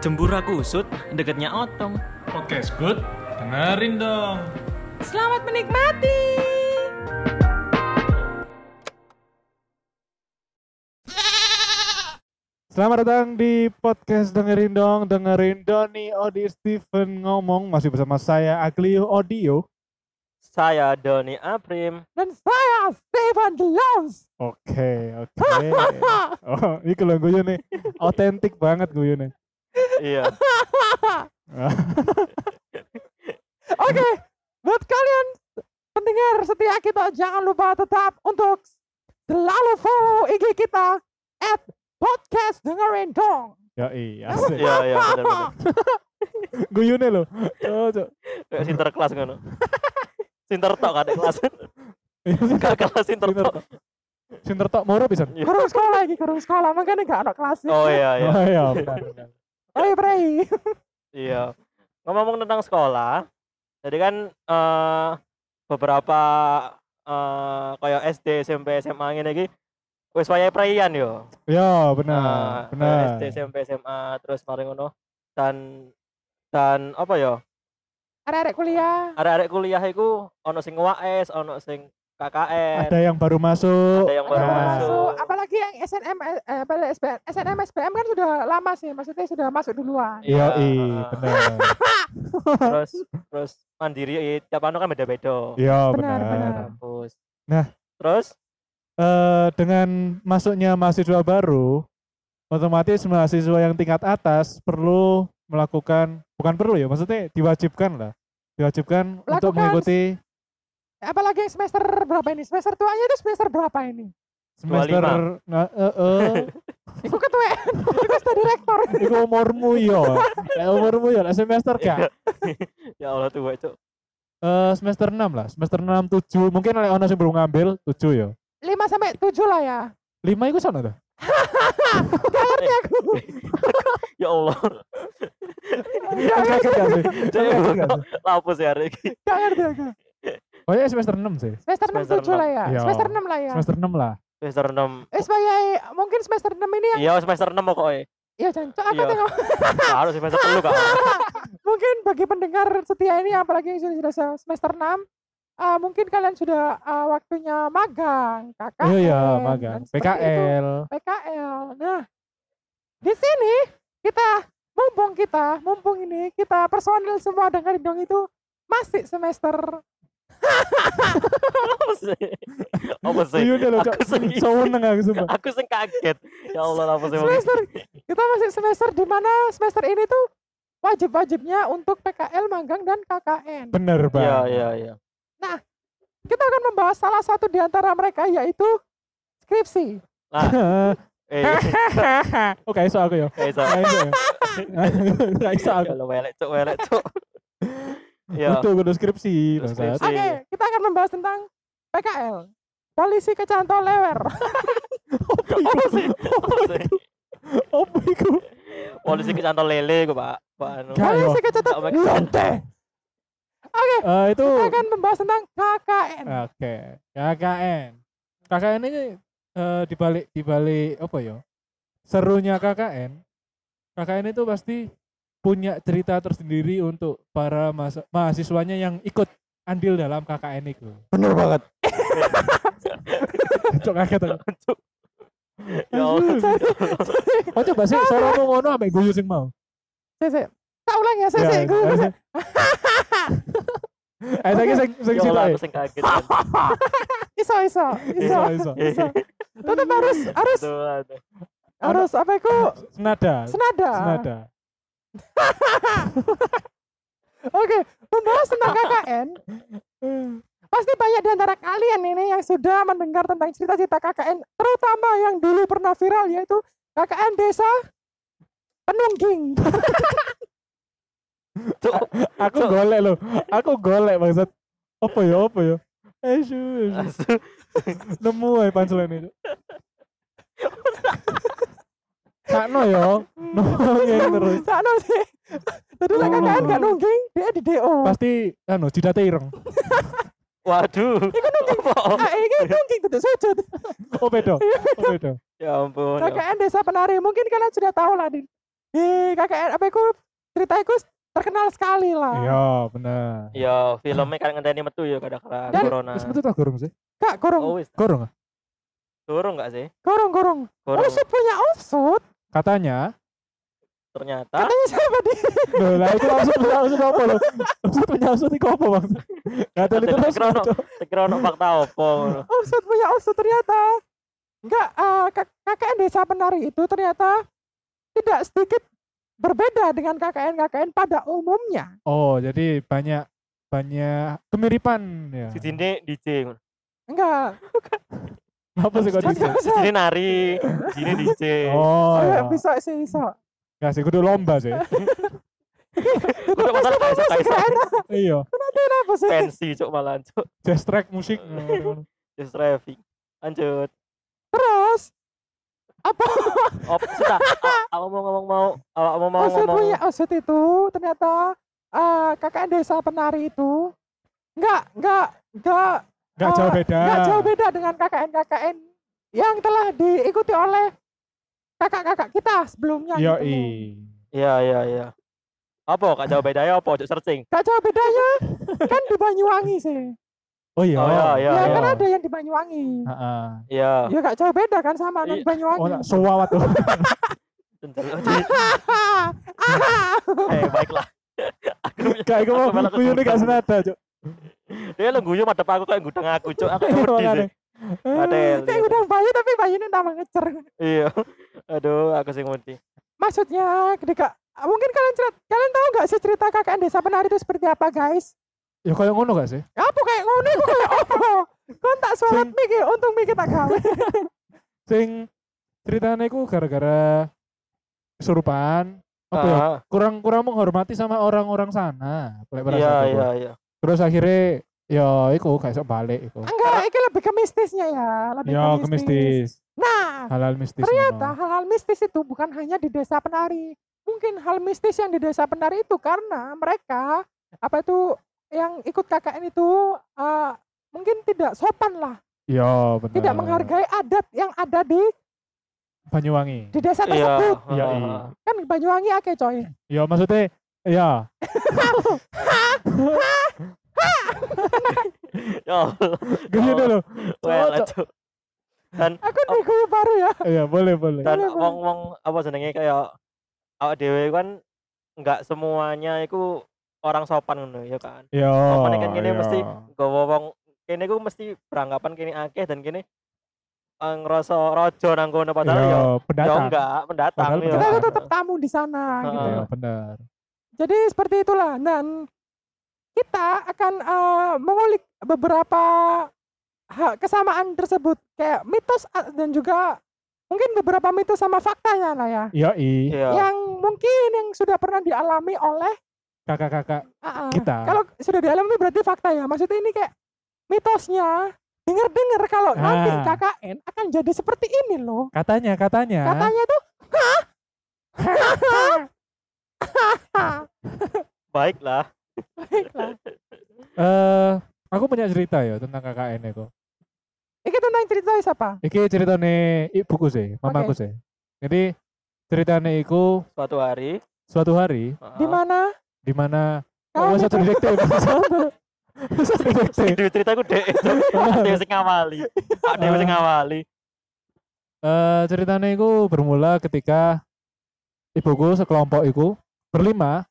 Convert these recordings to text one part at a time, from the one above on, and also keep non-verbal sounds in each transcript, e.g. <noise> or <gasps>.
Jembura kusut, deketnya otong. Podcast good, dengerin dong. Selamat menikmati. Selamat datang di podcast dengerin dong, dengerin Doni Odi Steven ngomong masih bersama saya Aglio Odio. Saya Doni Aprim. Dan saya Stefan Laus. Oke, oke. <laughs> Oh, ini kalau gue nih autentik banget gue <laughs> nih. iya. Oke, buat kalian pendengar setia kita jangan lupa tetap untuk selalu follow IG kita at podcast dengerin dong. Yoi, Ya, asik. Iya, iya, benar-benar. Guyune loh. Oh, cok. Kayak sinter kelas ngono. Sinter tok ada kelas. Iya, Gak kelas sinter Sinter tok. tok. Sinter tok moro pisan. Iya. Kurung sekolah lagi, kurung sekolah makanya gak ada kelas. Oh iya, iya. Oh, iya, benar, benar. Ayo Bray. Iya. Ngomong tentang sekolah, jadi kan eh beberapa eh kayak SD, SMP, SMA ngene iki wis wayahe perayaan yo. Iya, benar, Nah, benar. SD, SMP, SMA terus mari ngono dan dan apa ya? Ada-ada kuliah. Arek-arek kuliah iku ono sing UAS, ono sing KKN. Ada yang baru masuk. Ada yang baru Nah, masuk. Masuk, apalagi yang SNM, eh, apa, SBM, SNM, SBM kan sudah lama sih, maksudnya sudah masuk duluan. Iya, Yoi, heeh. benar. <laughs> terus terus mandiri i- tiap anu kan beda-beda. Iya, Benar, benar. benar. Kampus. Nah. terus eh dengan masuknya mahasiswa baru, otomatis mahasiswa yang tingkat atas perlu melakukan, bukan perlu ya, maksudnya diwajibkan lah, diwajibkan untuk Lakukan. mengikuti Apalagi yang semester berapa ini? Semester tuanya itu semester berapa ini? semester, 25. nah, eh, eh, Iku ketua, <laughs> semester direktor. iku umurmu <laughs> ya, Lek umurmu ya, lek semester gak, Iya. ya Allah tuh itu Eh, semester 6 lah, semester 6, 7, mungkin oleh ono yang belum ngambil, 7 ya, 5 sampai 7 lah ya. 5 itu sana dah, ya Allah <laughs> Kan kaget gak <laughs> sih, Kan kaget gak sih? lapo sih hari ini Gak ngerti aku. Pokoknya Oh iya, semester 6 sih, Semester 6 Semester 7 lah ya. Iya. Semester 6 lah ya. semester 6 lah, semester 6 Eh sebagai mungkin semester 6 ini yang iya semester 6 pokoknya ya jancok aku Iya. tengok. Nah, harus <laughs> semester <laughs> 10 kan <laughs> Mungkin bagi pendengar setia ini apalagi yang sudah sudah semester 6 eh, mungkin kalian sudah eh, waktunya magang, KKN. iya iya, dan magang, seperti itu. PKL, PKL. Nah, di sini kita mumpung kita mumpung ini kita personil semua dengerin dong itu masih semester apa sih apa sih Iya udah loh, aku sing seneng aku sumpah. aku sing kaget ya Allah lapo sih semester kita masih semester di mana semester ini tuh wajib-wajibnya untuk PKL, magang dan KKN. Bener iya banget. iya iya Kita akan membahas salah satu di antara mereka yaitu skripsi. eh <laughs> Oke, iso aku ya. kayak Nggak iso ya. Nggak iso aku. ya Allah welek cuk welek <laughs> cuk ya Butuh kudu skripsi, Terus Bangsat. skripsi. Oke, kita akan membahas tentang PKL. Polisi kecantol lewer. Apa iku? apa sih Apa iku? polisi kecantol lele kok pak pak anu Gak ya. Polisi kecantol Gak make sense. lente. Oke, Eh, itu kita akan membahas tentang KKN. oke. ya, KKN. KKN ini eh dibalik dibalik apa ya? Serunya KKN. KKN itu pasti punya cerita tersendiri untuk para mas- mahasiswanya yang ikut andil dalam KKN itu. bener <laughs> banget Cok kaget aku. ya Allah Oh coba sih, suaramu ngono ambek guyu sing mau. Sik, sik. Tak ulang ya, sik, sik. Gue- <laughs> gue- Eh, saya sing sing ya Allah sitok, eh. aku sing kaget kan. <laughs> <laughs> Iso, iso, iso, iso. iso. Tetap harus, harus, Aduh, aduh. harus apa itu? Senada. Senada. Senada. Oke, membahas tentang KKN. Pasti banyak di antara kalian ini yang sudah mendengar tentang cerita-cerita KKN, terutama yang dulu pernah viral yaitu KKN Desa Penungging. Cuk, Aku Cok. golek loh. Aku golek maksud. Apa ya, apa ya? Eh, su- su- asu. nemu ae pancelan itu. Sakno yo, <laughs> nongeng terus. Sakno sih. Tadi lah KKN gak nungging, dia di DO. Pasti anu jidate ireng. Waduh. Apa? Ah, ini nungging tidak sujud. Oh, beda. Oh, beda. Ya ampun. ya ampun. KKN Desa Penari, mungkin kalian sudah tahu lah di Hi, KKN apa iku ceritanya iku terkenal sekali lah. Iya, bener. Yo, filmnya kan ngenteni metu ya kadang-kadang Dan- corona. Wis metu tak gorong sih? Kak, gorong, Oh wis, Gorong ah? turun enggak sih? gorong, gorong. Gorong Usut punya usut. Katanya. ternyata. Katanya siapa dia? Loh, lah itu maksud punya maksud apa loh? Maksud punya maksud itu apa bang? Gak ada literasi. Kira ono, kira ono fakta opo ngono. Usut punya usut oh, ya ternyata. Enggak, eh, K- KKN desa penari itu ternyata tidak sedikit berbeda dengan KKN-KKN pada umumnya. Oh, jadi banyak banyak kemiripan ya. Di sini DJ ngono. Enggak, Apa sih kok enggak dijak? Di bisa. sini nari, di sini DJ. Oh, Eh, iya. ya. bisa sih, bisa. Gak sih, kudu lomba <laughs> sih. Kudu pasar gak iso gak iso. Iya, Hmm. Kenapa sih? Pensi cuk malah cuk. jazz track musik. Just driving. Lanjut. Terus, apa Op, sudah. A- Awak mau ngomong mau, awak mau Oh, mau usut ngomong. punya ya? usut itu ternyata eh, KKN desa penari itu enggak, enggak, enggak Gak jauh Eh, beda. <laughs> nggak jauh beda dengan KKN-KKN yang telah diikuti oleh kakak-kakak kita sebelumnya. Yo i. gitu loh. Iya, iya, iya. Apa gak jauh bedanya apa cuk searching. Nggak jauh bedanya kan di Banyuwangi sih. Oh iya. Oh, iya, iya, Ya, iya. kan ada yang di Banyuwangi. Heeh. Iya. Ya gak jauh beda kan sama Iya. anak Banyuwangi. Oh, nak suawat tuh. <laughs> <laughs> Ah, ah. Eh, baiklah. Kayak gue mau Aku malah kuyune gak kesulitan. senada, Cuk. Dia lu guyu madep aku kayak gudang aku cuk. Aku wedi Makanya. sih. Padahal, Eh, Kayak iya. udah bayi tapi bayinya tambah ngecer. Iya. <laughs> Aduh, aku sing wedi. Maksudnya ketika mungkin kalian cerit, kalian tahu nggak sih cerita KKN Desa Penari itu seperti apa guys? Ya kayak ngono gak sih? Apa kayak ngono iku kayak apa? Kon tak sholat mikir, untung mikir tak gawe. Sing ceritanya iku gara-gara kesurupan apa ya? Ah, kurang kurang menghormati sama orang-orang sana lek perasaan Iya, aku. iya, iya. terus akhirnya ya iku gak iso balik iku Enggak, ini lebih ke mistisnya ya, lebih ya ke ke mistis. mistis Nah, halal mistis ternyata ngono. hal-hal mistis itu bukan hanya di desa penari. Mungkin hal mistis yang di desa penari itu karena mereka apa itu yang ikut KKN itu eh, mungkin tidak sopan lah, ya benar tidak menghargai adat yang ada di Banyuwangi di <laughs> desa Iya. tersebut. Iya, ah, iya. Kan Banyuwangi akeh coy. ya maksudnya ya Ya Allah. gini dulu Well, Cocok. cuk. Dan Aku niku baru ya. ya boleh boleh dan Boleh, boleh. iya. wong-wong apa jenenge kayak awak dhewe kan enggak semuanya iku orang sopan ngono ya kan. ya Sopane kan kene ya. mesti nggawa wong kene ku mesti beranggapan kene akeh dan kene eh, ngerasa rojo nang kono padahal ya ya ya pendatang enggak pendatang Padahal ya. Kita pendatang. itu tetap tamu di sana gitu. Heeh. ya benar Jadi seperti itulah dan kita akan eh, mengulik beberapa ha- kesamaan tersebut kayak mitos eh, dan juga mungkin beberapa mitos sama faktanya lah ya. ya i Iya. Yang mungkin yang sudah pernah dialami oleh kakak-kakak ah, ah. Kita. Kalau sudah dialami berarti fakta ya. Maksudnya ini kayak mitosnya dengar-dengar kalau nanti Ah. KKN akan jadi seperti ini loh. katanya katanya Katanya tuh <laughs> Baiklah. <laughs> baiklah. eh aku punya cerita ya tentang KKN itu Ini tentang cerita siapa? Iki ceritane ibuku sih, mamaku sih. Jadi ceritane iku Suatu hari, Ah. suatu hari heeh. Di mana? di mana Kau oh, satu mikir- detektif. <laughs> Satu Sing detektif. duwe ceritaku dek itu. Pak Dewi sing ngawali. Pak Dewi Ah. sing ngawali. Eh ceritane iku bermula ketika ibuku sekelompok iku berlima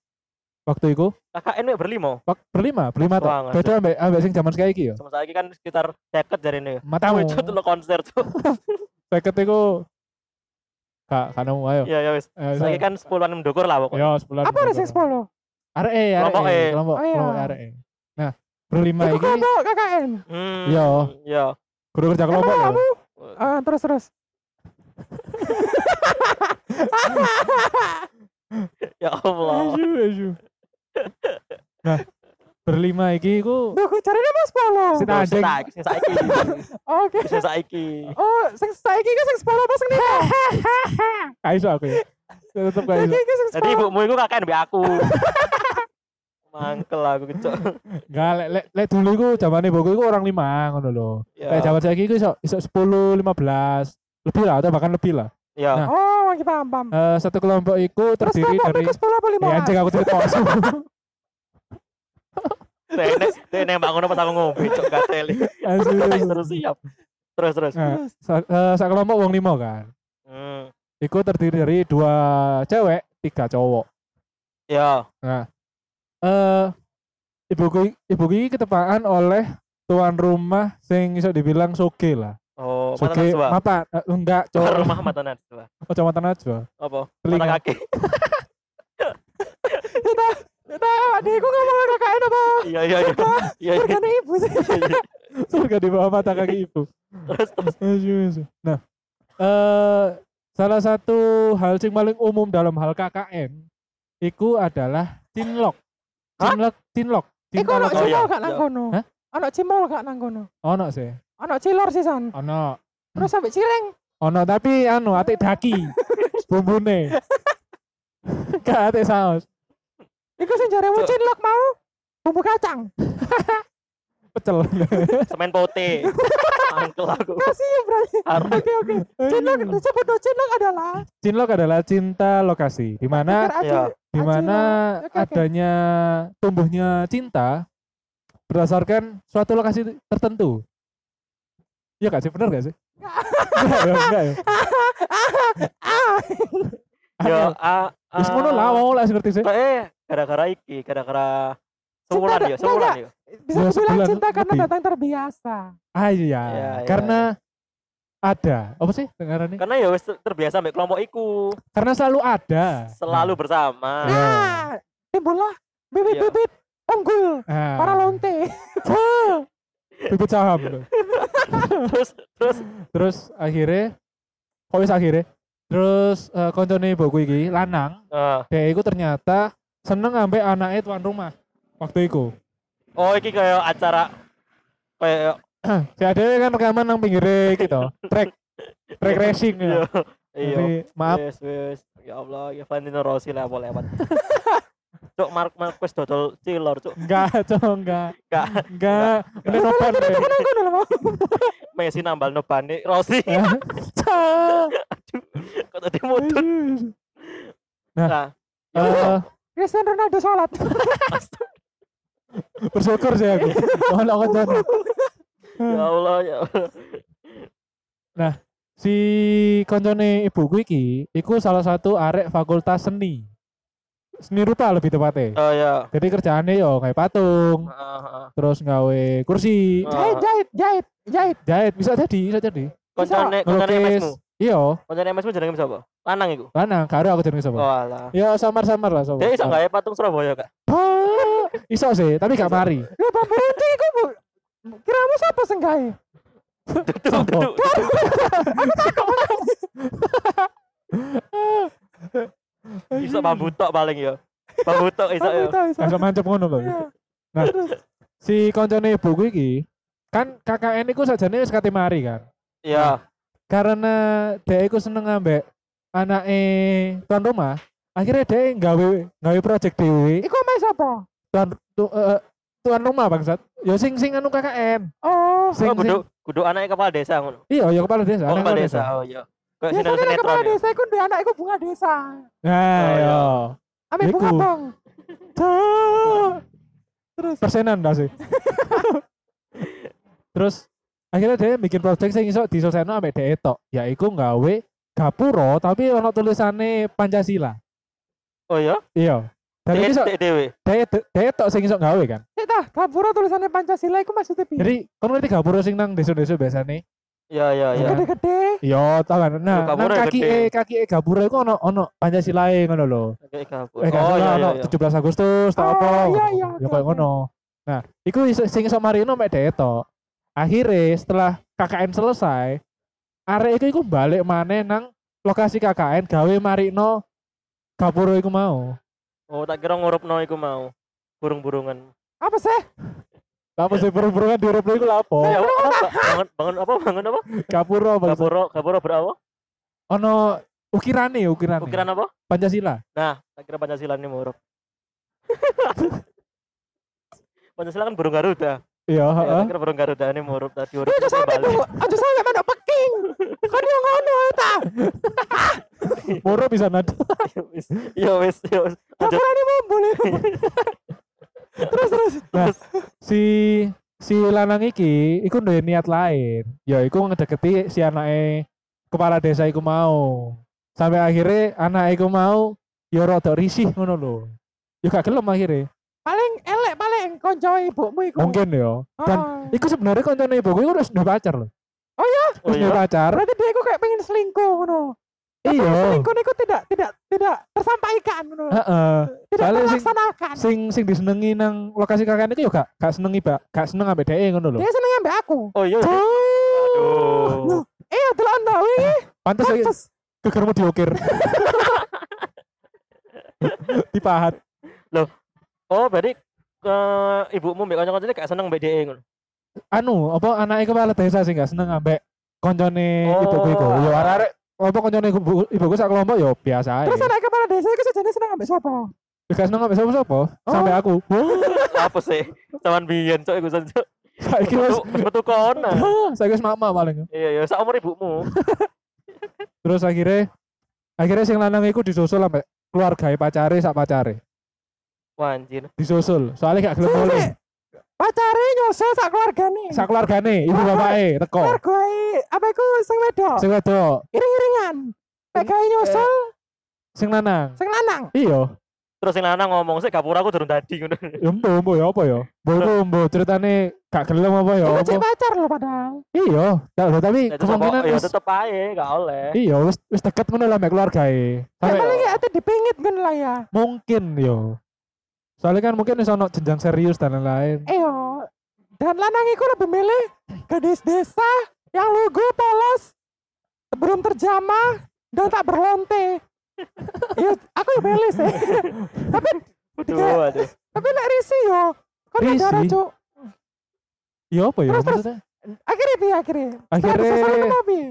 waktu iku KKN mek berlimo. wak- berlima berlima Wah, tuh ngasih. beda ambek ambek sing jaman saiki ya Sama saiki kan sekitar 50 jarine ya. matamu Wih, cuk, lo konser tuh. <laughs> seket iku kak kanemu ayo Iya ya wis. Ayo, Saiki kan 10-an mendukur lah pokoknya. yo sebulan Apa ada 10? RE Kelompok E. kelompok Oh, iya. kelompok RE nah berlima Iku iki kelompok KKN. Hmm. Iya. Iya. guru kerja Emang kelompok ya. kamu Ah, terus terus. Ya Allah. Asu, asu. Nah, berlima iki ku Duh, aku cari nama sepuluh. Sita Duh, Andeng. saiki- sing saiki. Oke. Sing saiki. Oh, sing saiki iki sing sepuluh apa sing lima? gak iso aku ya. Tetep gak Saiki iso. iki sing Jadi sepuluh. ibumu iku KKN mbek <laughs> aku. Mangkel aku kecok. Enggak lek lek lek dulu iku zamane boku iku orang lima ngono lho. Lek Ya. zaman saiki iku iso iso 10 15 lebih lah atau bahkan lebih lah. Ya. Nah. Oh, lagi paham paham. Eh, satu kelompok itu Terus terdiri kelompok dari miku 10 apa ya anjing 15? aku cerita <laughs> Tenek, tenek mbak ngono pas aku ngombe cok kateli. Asli. Terus siap. Terus terus. Nah, sa- eh, sak kelompok wong limo kan. Hmm. Iku terdiri dari dua cewek, tiga cowok. Ya, Eh ibuku ibuku iki ketepaan oleh tuan rumah sing iso dibilang soge lah. oh mata Soge najwa. mata eh, enggak Tuan cowok rumah mata najwa. oh, mata najwa. Apa? Mata Telinga. kaki. Nah, adikku ngomong KKN apa? Iya iya iya. Iya iya. Pergane ibu sih. Surga di bawah mata <laughs> kaki ibu. Terus terus. Asu, asu. Nah, eh salah satu hal yang paling umum dalam hal KKN itu adalah cinlok. Hah? Cinlok, cinlok. Iku ono Oh, iya, cimol gak nang iya. kono? Hah? Ono cimol gak nang kono? Ono sih. Ono cilor sih san. Ono. Terus sampai cireng. Ono tapi anu atik <laughs> daki. Bumbune. Gak atik saus. Iku sing jare Cuk. wucin lok mau. Bumbu kacang. Pecel. Semen pote. Angkel aku. Kasih ya berarti. Harus. Oke oke. Cinlok disebut no cinlok adalah Cinlok adalah cinta lokasi. Di <laughs> mana Pikir iya. aja. di mana Oke, oke. adanya tumbuhnya cinta berdasarkan suatu lokasi tertentu. Iya gak sih? Bener gak sih? Enggak ya, enggak <laughs> ya. Iya. Ya, a a- Wis ngono lah, wong lah ngerti sih. Kok, eh gara-gara iki, gara-gara Cinta sewulan ada- ya, sewulan enggak, ya. Bisa Dua dibilang sebulan cinta karena lebih. datang terbiasa. Ah iya, Iya, iya, karena ada. Apa sih dengarannya? Karena ya wis ter- terbiasa mbek kelompok iku, Karena selalu ada. selalu bersama. Iya. Nah, timbullah bibit-bibit unggul Nah, para lonte. Bibit saham. loh. <laughs> Terus terus Terus akhirnya kok wis akhirnya? Terus eh, koncone ibuku iki lanang, eh, dhek iku ternyata seneng ambek anaknya tuan rumah waktu iku. <clears throat> oh iki kayak acara kayak si ada kan rekaman nang pinggire gitu track track racing ya Iya. iya. Jadi, maaf Wis wis. Ya Allah, ya Valentino Rossi lah boleh lewat. Cuk Mark Marquez dodol cilor cuk. enggak cong enggak Enggak. enggak ini nopan deh Ngono lho mau. Messi nambal nebane Rossi. <laughs> Cong. Kok tadi mudun. Nah, Eh, Cristiano Ronaldo sholat. bersyukur sih aku Mohon aku jangan. ya Allah ya. Allah. si koncone ibuku iki iku salah satu arek fakultas seni seni rupa lebih tepatnya Oh ya. jadi kerjaannya yo kayak patung Heeh, heeh. terus ngawe kursi Ah. <laughs> Jahit, jahit, jahit, jahit. jahit bisa jadi bisa jadi Koncone koncone Ngelukis. MSmu. iya Koncone MSmu jenenge sapa? Lanang iku. lanang karo aku jenenge sapa Oh alah. Ya samar-samar lah sobat. Dia iso gawe patung Surabaya, Kak. Ah, iso sih, tapi gak mari. Lho bambu runti iku Bu. Kiramu sapa sing gawe? Sopo? Duduk. Iso bambu tok paling ya. Bambu tok iso Bambu ya. itu iso. Langsung mancep ngono Bang. Iya. Nah. Terus Si koncone ibu gue iki kan KKN iku sajane wis kate mari kan. Iya. Karena dhek iku seneng ambek anake tuan rumah, akhirnya dhek nggawe nggawe project dhewe iku omahe sapa? tuan tu- eh, tuan rumah bangsat. Ya sing sing anu KKN. Oh, Sing sing Oh, kudu kudu anake kepala desa ngono. iya ya kepala desa, Oh, anak kepala desa. Oh, iya. Kayak biasanya sinetron nek kepala sinetron. ya. desa iku duwe anak iku bunga desa. Nah, Oh, iya. yo. Ame Iku. bunga bong. terus persenan dah sih terus akhirnya dia bikin project sing iso diselesaikan ambek dhek tok yaiku nggawe gapura tapi ono tulisane Pancasila Oh, iya. iya dan Dek ini iso dek dhewe. dhek dhek tok sing iso nggawe kan Sik ta, gapura tulisannya Pancasila iku maksudnya piye? jadi kon ngerti gapura sing nang desa-desa biasane Iya, iya, iya. Gede-gede. iya tau kan nah Lho, gapura nang kaki gede. e kaki e gapura iku ono ono Pancasilae ngono lho Oke, gabut. eh Oh, gapura iya, ono iya. 17 Agustus tau Oh, apa iya, iya, ya koyo oke, oke. ngono nah iku iso, sing iso marino mek dhek tok akhirnya setelah KKN selesai arek iku iku balik maneh nang lokasi KKN gawe marino gapura iku mau Oh, tak kira ngurupno iku mau. Burung-burungan. Apa sih? apa Iya. sih kan burung-burungan di iku lapo Ya, apa, apa, bangun bangun apa? Bangun apa? gapura apa sih? Gapura, gapura berawa? ono ukirane ukirane Ukiran apa? Pancasila Nah, tak kira Pancasila ini murup. <laughs> Pancasila kan burung Garuda. iya Ya, heeh. tak kira burung Garuda ini murup tadi urup. Aja sampe balik. Bu. Aja sampe manuk peking. Kan yo ngono ta. Moro bisa nada. Ya <laughs> wis, ya wis, ya wis. Lanjut. Ini mau boleh. terus terus. Nah, si si lanang iki iku duwe niat lain. Ya iku ngedeketi si anake kepala desa iku mau. Sampai akhirnya anak iku mau ya rada risih ngono lho. Ya gak gelem akhirnya. Paling elek paling konco ibumu iku. Mungkin ya. Dan Oh. Ah. iku sebenarnya koncone ibuku iku wis duwe pacar lho. Oh Wis duwe iya. pacar. berarti dia iku kayak pengen selingkuh ngono. Tapi Iya. Selingkuh niku tidak tidak tidak tersampaikan ngono. Heeh. Tidak soalnya sing- terlaksanakan. Sing sing disenengi nang lokasi kakaknya itu ya gak gak senengi, Pak. Gak seneng ambek dhek e ngono lho. Dia seneng ambek aku. Oh iya. iya. Loh, Aduh. Iya, delok kan no iki. Pantes lagi Pantes. kegermu <laughs> diokir. Dipahat. Oh, berarti ke ibumu mbek kanca-kancane gak seneng mbek dhek ngono. anu apa anaknya kepala desa sih nggak seneng ambek koncone Oh. ibuku iku ya arek apa koncone ibu ibuku sak kelompok ya biasa ae Terus anak kepala desa iku sejane seneng ambek sapa? Ya gak seneng ambek sapa-sapa Oh. sampai <gasps> aku Apa sih? Cuman biyen cok iku cok. saiki wis Metu- Metu kono. saiki wis mama paling Iya, ya sak umur ibumu. terus akhirnya akhirnya sing lanang iku disusul ambek keluarga pacare sak pacare Wah, anjir. disusul soalnya gak gelem Sik, oleh sik. Pacare nyusul sak keluargane. sak keluargane ibu bapake teko keluargae apa iku sing wedok? sing wedok Iring-iringan. Pegawe nyusul sing lanang sing lanang. iya Terus sing lanang ngomong sih gapura aku durung dadi ngono. ya mbo mbo ya apa ya mbo iku mbo ceritane gak gelem apa ya Iku apa cek pacar lho padahal. iya tak- tapi Ya tetep kemungkinan ya wis- tetep ae gak oleh. iya wis wis deket ngono lah mek keluargae Ya sampai paling ya ate dipingit ngono lah ya. mungkin yo soalnya kan mungkin wis ono jenjang serius dan lain-lain Eh, Eyo. Dan lanang iku lebih milih gadis desa yang lugu polos belum terjamah dan tak <laughs> berlonte. Iya, aku yang milih sih. tapi Aduh, aduh. tapi lek risi yo. Kan Risi? ada cuk. iya apa ya Terus, terus. maksudnya Akhirnya piye akhirnya? Akhirnya- Oh.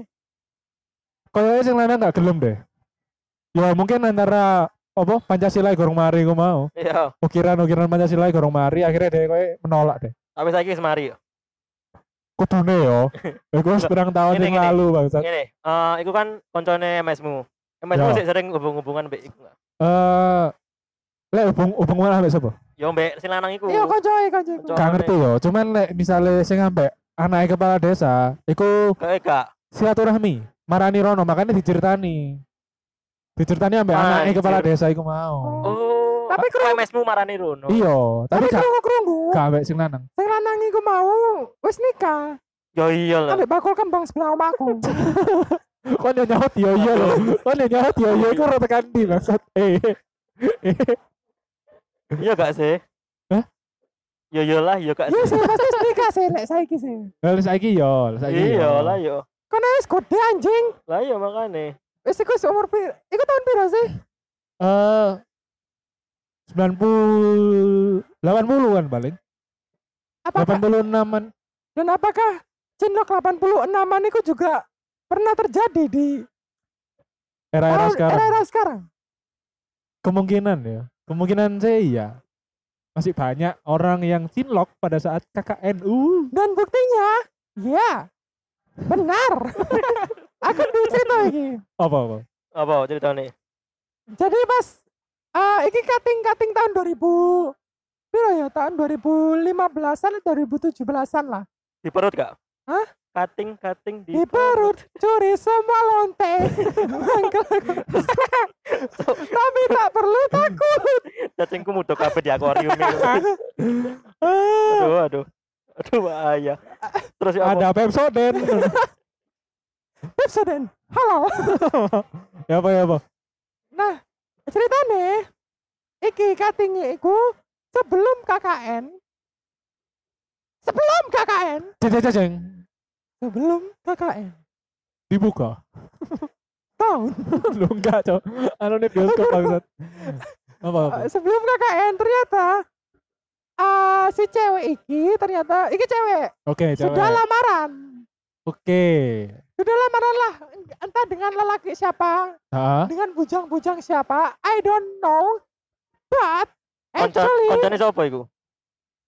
kayaknya sing lanang gak gelem deh ya mungkin antara apa Pancasila gorong mari ku mau Iya. ukiran-ukiran Pancasila gorong mari akhirnya deh kowe menolak deh Tapi saiki wis mari. yo. kudune <laughs> yo iku wis Loh, pirang tahun ngene, yang ngene. lalu bangsat Ngene, eh iku kan koncone MS-mu. MS-mu Ya. sik sering hubung-hubungan mbek iku. nggak? eh lek hubung hubungan ambek sapa Yo mbek sing lanang iku. Iya, koncoe koncoe. Koncoe. gak ngerti yo cuman lek misalnya sing ambek anak kepala desa iku Kayak gak silaturahmi marani Rono makanya diceritani diceritani sampai Anjir. anaknya kepala desa iku mau Oh. Ah, iya. Oh, Tapi tapi kru- mesmu marani Rono. iya Tapi tapi gak kerungu-kerungu, gak ambek sing lanang sing lanang iku mau wis nikah. Ya iya lah. Ambek bakul kembang <laughs> sebelah omahku. kon yang nyaut iya iya lho kon yang nyaut iya iya iku rata kandi maksud eh Iya gak sih? Hah? Ya iyalah, ya gak Iya sih. sih, pasti wis nikah sih lek saiki sih. lha saiki yo lha saiki Iya yo. lah yo. Kan wis gede anjing. Lah iya makane. Wis iku umur pir. Iku tahun piro sih? eh 90 80-an paling Apakah 86-an dan apakah Cinlok 86-an itu juga pernah terjadi di era-era tahun- sekarang Oh, era-era sekarang? kemungkinan ya kemungkinan sih iya masih banyak orang yang cinlok pada saat KKN uh Dan buktinya, ya, benar. <laughs> Aku cerita lagi. apa apa Apa ceritane? Jadi pas eh iki kating-kating tahun 2000 Piro ya tahun 2015-an atau 2017-an lah. Di perut gak? Hah? Cutting, cutting di Di perut curi semua lonte. Mangkel. Tapi tak perlu takut. cacingku mudok kabeh di Iya, akuarium <laughs> itu. aduh, aduh. Aduh bahaya. Terus ya apa? ada <laughs> Pepsoden Pepsodent. Halo. ya apa ya apa Nah, ceritane iki katinge iku sebelum KKN sebelum KKN ceng ceng, ceng ceng sebelum KKN dibuka <laughs> tahun lu enggak cok anu nih bioskop bangsat apa apa eh, sebelum KKN ternyata ah si cewek iki ternyata iki cewek, oke sudah cewek lamaran oke sudah lamaran lah entah dengan lelaki siapa Hah? dengan bujang-bujang siapa I don't know but Konco, actually koncone sapa iku?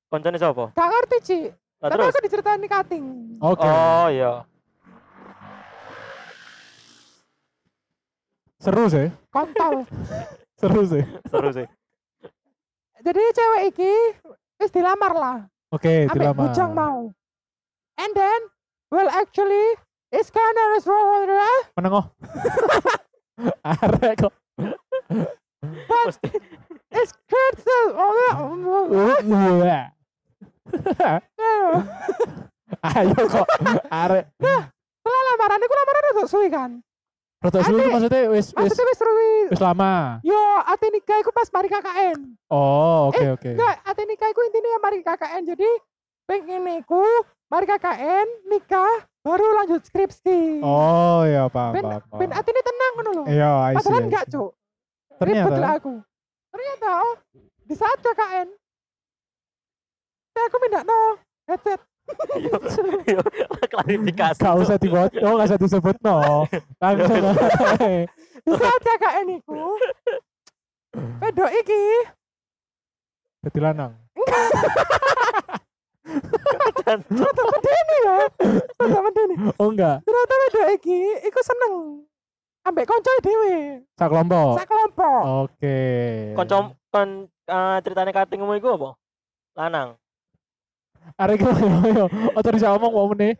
Koncone sapa? gak ngerti Ci Lah tapi Nah, terus. aku diceritain di kating oke Oh iya. seru sih kontol seru sih seru sih jadi cewek iki wis dilamar lah oke ambek dilamar bujang mau and then well actually Iskandar is wrong with that, menengoh <laughs> arek kok but Mesti- it's uh, oh, critical ya. <laughs> ayo kok arek Setelah lamaran itu lamaran udah suwi kan Rotok suwi itu Ade. maksudnya wis wis Maksudnya wis suwi wis lama. Yo ate nikah iku pas mari KKN Oh, oke oke. Eh, Enggak, ate nikah iku intinya mari KKN jadi pengen iku mari KKN nikah baru lanjut skripsi Oh, ya paham ben, paham. ben paham. ate ini tenang ngono lho Iya, ya, I see, padahal I enggak see. cuk ribut Ternyata lah aku ternyata oh di saat KKN ya aku minta no headset Yo, yo, <laughs> klarifikasi Gak usah <laughs> dibuat, oh gak usah Kan disebut no. Langsung ae. di saat KKN iku pedo iki <laughs> Jadi lanang. Dan- rata medeni lho rata medeni Oh enggak, ternyata pedo iki iku seneng ambek koncoe dhewe sak kelompok. sak kelompok Oke. konco kon eh, ceritanya katingmu iku apa lanang Arek iki yo yo. Ojo bisa omong mau meneh.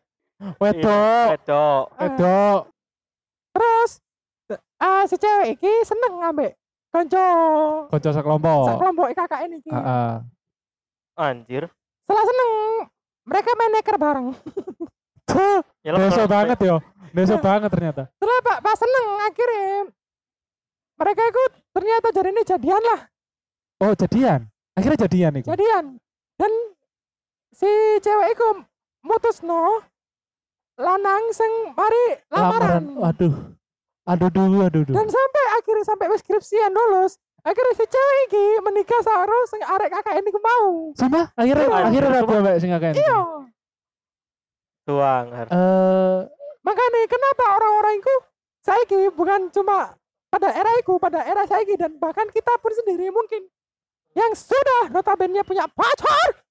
Wedok, wedok Eh, wedok. terus ah si cewek iki seneng ambek konco Konco sak sak kelompok. kelompok KKN iki Heeh. anjir setelah seneng mereka main neker bareng Nyelam Deso terus, banget yo. Deso banget ternyata. setelah pak pak seneng akhirnya mereka ikut ternyata jadi ini jadian lah Oh, jadian. Akhirnya jadian iku. jadian dan si cewek itu mutus no lanang sing mari lamaran, Aduh. Aduh dulu, aduh dulu. dan sampai akhirnya sampai wis skripsian lulus akhirnya si cewek iki menikah karo sing arek kakak ini mau Sumpah, akhirnya Iya. akhirnya rapi mbak sing akeh. iya tuang Eh, makanya kenapa orang-orang itu saiki bukan cuma pada era itu pada era saiki dan bahkan kita pun sendiri mungkin yang sudah notabene punya pacar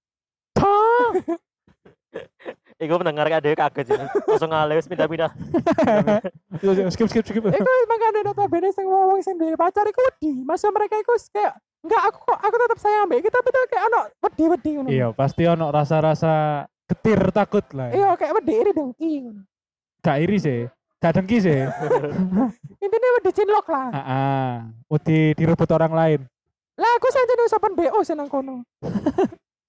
iku mendengar ada kaget sih langsung ngalih wis pindah-pindah yo, yo, skip skip skip. itu makanya notabene sing wong sing duwe pacar iku wedi masa mereka iku kayak enggak aku kok aku tetap sayang mbak kita betul kayak ono wedi wedi ngono Iya, pasti ono rasa-rasa getir takut lah. ya. iya kayak wedi iri dengki ngono. Gak iri sih. Gak dengki sih. intinya wedi cinlok lah Heeh. Udah direbut orang lain. lah aku saya jadi usapan bo sih nang kono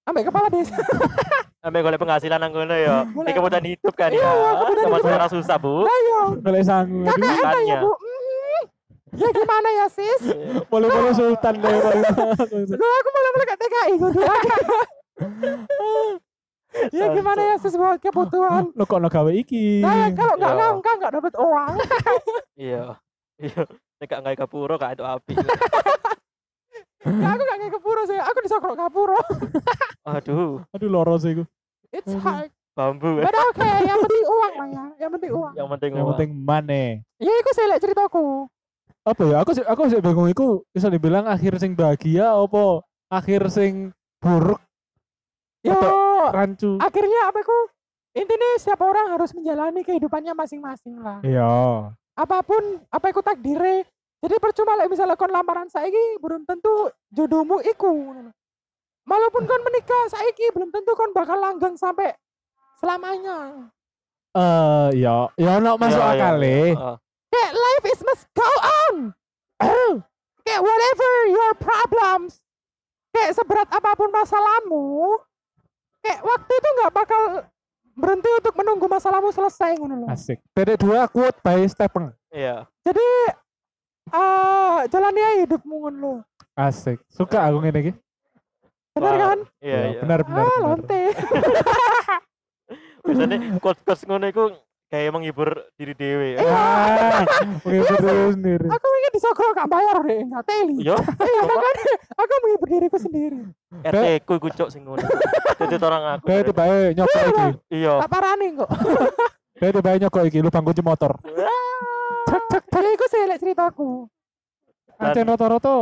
ambek kepala desa ambil golek penghasilan nang kono ya Golek- ini kemudian hidup kan Iya, ya kemudian sama hidup. sekarang susah bu lah yo Mulai sangu. kakak Aduh, iya. enak ya Makanya. bu Mm. ya gimana ya sis Mulai mulai sultan deh. Lu aku malah melekat TKI gue bilang. ya gimana ya sis buat <laughs> kebutuhan. Lo kok lo gawe iki? Nah kalau nggak Iya. ngangkat nggak dapat uang. iya iya nek gak ngai kapuro gak itu api Ya aku nggak kayak kepuro sih. Aku disokrok kapuro. <laughs> aduh Aduh loro sih iku. It's Aduh. hard. bambu But okay, yang penting uang lah ya. Yang penting uang. yang penting Yang uang. penting mane. Ya aku saya lihat ceritaku. Apa ya? Aku sih- aku sih bingung iku bisa dibilang akhir sing bahagia apa akhir sing buruk Yo, <laughs> rancu. akhirnya apa aku? Intinya setiap orang harus menjalani kehidupannya masing-masing lah. Iya. Apapun apa aku takdire. Jadi percuma lah misalnya kon lamaran saiki belum tentu jodohmu iku. Walaupun kon menikah saiki belum tentu kon bakal langgeng sampai selamanya. Eh, ya, ya ono masuk Iya, iya, akal iya. e. Heeh. Kayak life is must go on. <clears throat> Kayak whatever your problems. Kayak seberat apapun masalahmu, kayak waktu itu nggak bakal berhenti untuk menunggu masalahmu selesai ngono loh. Asik. Titik dua quote by Stephen. iya Jadi eh jalannya hidupmu ngono loh. Asik. Suka aku ngene iki. Benar Wah, kan? iya Ya, iya Benar benar. ah, benar. lonte. biasanya quotes-quotes ngono iku kayak menghibur diri dewe Ah, menghibur diri sendiri. Aku ingin disogok gak bayar deh, nggak teli. yo Iya, makanya aku menghibur diriku sendiri. RT ku iku cuk sing ngono dadi orang aku Dari tiba nyokok iki. Oh. iya Tak parani kok. Dari tiba nyokok iki lubang kunci motor. Cek cek cek. Jadi aku selek ceritaku. Dan- Acen roto-roto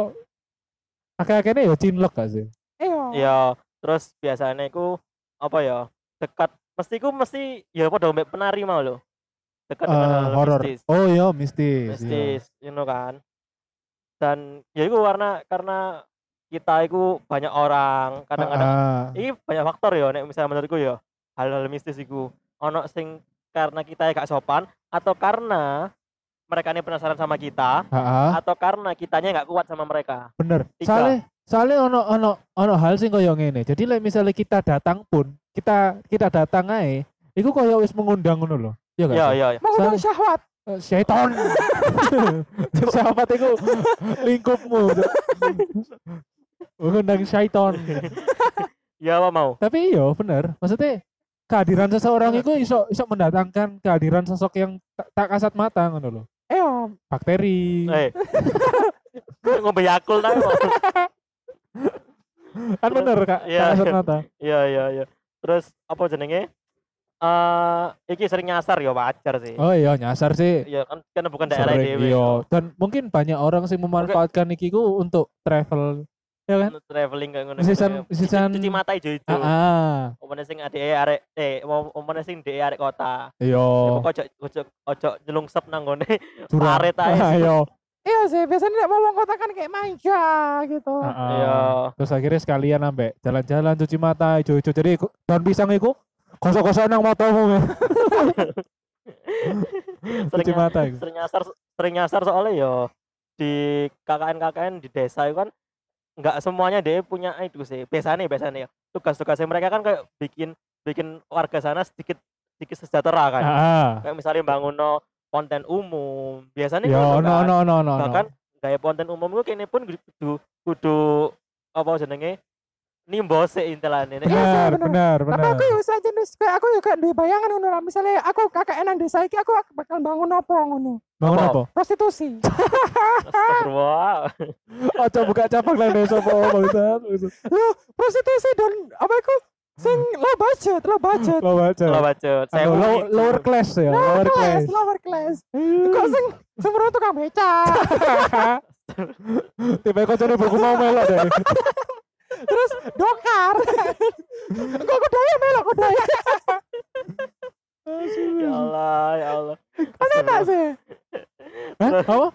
akeh-akehne ya cinlok gak sih? Iya. ya terus biasanya ku apa ya dekat mesti ku mesti ya apa dong penari mau lo dekat dengan eh hal horor. mistis Oh iya, mistis. iya. mistis you know kan dan ya itu karena karena kita itu banyak orang kadang-kadang Ah, ah. ini banyak faktor ya nek misalnya menurutku ya hal-hal mistis iku ono sing karena kita ya gak sopan atau karena mereka ini penasaran sama kita Ah, ah. atau karena kitanya nggak kuat sama mereka bener Tiga. soalnya soalnya ono ono ono hal sing koyo ngene jadi like, misalnya kita datang pun kita kita datang ae iku koyo wis mengundang ngono lho iya gak iya sih? iya iya. mengundang syahwat Eh, <laughs> setan sahabat iku lingkupmu <laughs> mengundang setan iya apa mau tapi iya bener maksudnya kehadiran seseorang itu iso iso mendatangkan kehadiran sosok yang tak, tak kasat mata ngono lho eh bakteri eh <laughs> ngombe yakul nang kan bener kak Iya, tak kasat iya. mata iya iya iya terus apa jenenge eh iki sering nyasar ya wajar sih oh iya nyasar sih Iya kan karena bukan daerah Sering, dewe. iya. Dan mungkin banyak orang sih memanfaatkan iki ku untuk travel. Ya kan? Traveling kayak ngono. Sisan- Cuci- sisan- cuci mata ijo-ijo. Ah, ah. Omone sing adeke arek eh om- omone sing dhek arek kota. Iya. Ya, pokok ojo ojo ojo nyelungsep nang ngone. Curang. parit aja. Ah, <laughs> Iya. iya sih biasanya nek mau wong kota kan kayak manja gitu Ah, ah. Iya. Terus akhirnya sekalian ambek jalan-jalan cuci mata ijo-ijo. Jadi iku- daun pisang iku kosong-kosong nang matamu. Sering cuci mata iku. sering nyasar sering nyasar soalnya yo di KKN-KKN di desa itu kan nggak semuanya dia punya itu sih biasanya biasanya ya tugas-tugasnya mereka kan kayak bikin bikin warga sana sedikit sedikit sejahtera kan Ah, ah. kayak misalnya bangun no konten umum biasanya Yo, Ya, no ngono kan. no no no. bahkan gaya konten umum gue kini pun kudu kudu apa jenenge nimbo sih <laughs> intelane Iya, sih, benar, bener. benar, tapi benar. aku ya usah jenis kayak aku juga duwe bayangan ngono lah misalnya aku KKN nang desa iki aku bakal bangun apa ngono Bangun Apa? apa? <laughs> prostitusi astagfirullah Ojo buka cabang lain desa apa bangsat. Loh, prostitusi dan apa itu sing low budget low budget Lo baca. kalau bacot Anu, low- Lower class ya, lower class. Iya. class lower class kok sing semuanya tukang beca <laughs> Tiba kocone bergumau melok deh. terus dokar kok kudanya melok kudanya ya Hmm. Allah ya Allah kan enak sih Hah? Apa?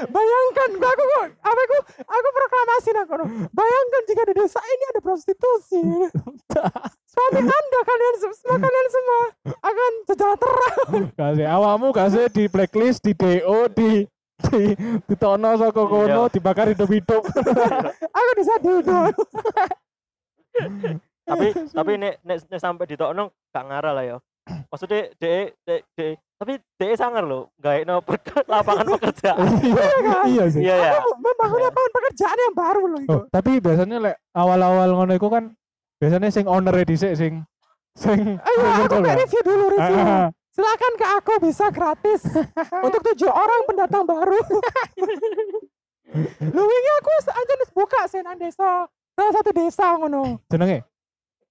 bayangkan gua aku kok apa aku aku proklamasi nang kono. bayangkan jika di desa ini ada prostitusi <laughs> suami anda kalian sem- semua kalian semua akan sejahtera Kasih awakmu kasih di blacklist di DO di di ditono saka kono Iya. dibakar hidup-hidup. aku bisa duduk tapi tapi nek nek, nek sampai di tokno gak ngarah lah ya maksudnya de de de tapi de sangar loh gak no lapangan pekerjaan Iya, iya sih. iya ya Aku membangun lapangan pekerjaan yang baru loh itu Oh, tapi biasanya lek awal-awal ngono iku kan biasanya sing owner dhisik sing sing ayo sing aku nyekel mau ya. review dulu review Ah, silakan ke aku bisa gratis untuk tujuh orang pendatang baru lu wingi aku aja nulis buka senan desa salah satu desa ngono jenenge.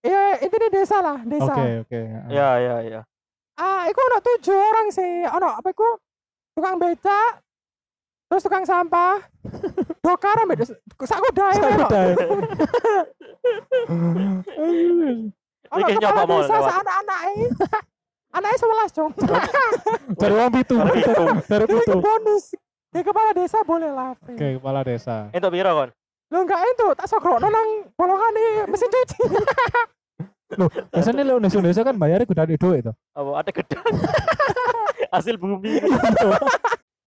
ya intinya desa lah desa Oke, oke. ya ya ya ah iku ono tujuh orang sih ono apa iku tukang becak terus tukang sampah dokar ambek sak kudae Saya ono udah. ono Iki kepala nyoba mau desa lewat. sak anak-anake <laughs> anake 11 dong Dari wong pitu. Dari pitu. Dari Jadi pitu. bonus di kepala desa boleh lah free. Oke, kepala desa. itu biro kon Lo enggak itu, tak sokrokno nang bolongan nih mesin cuci. Loh, biasanya lek Indonesia kan bayarnya gudane dhuwit to. apa ada gedang hasil bumi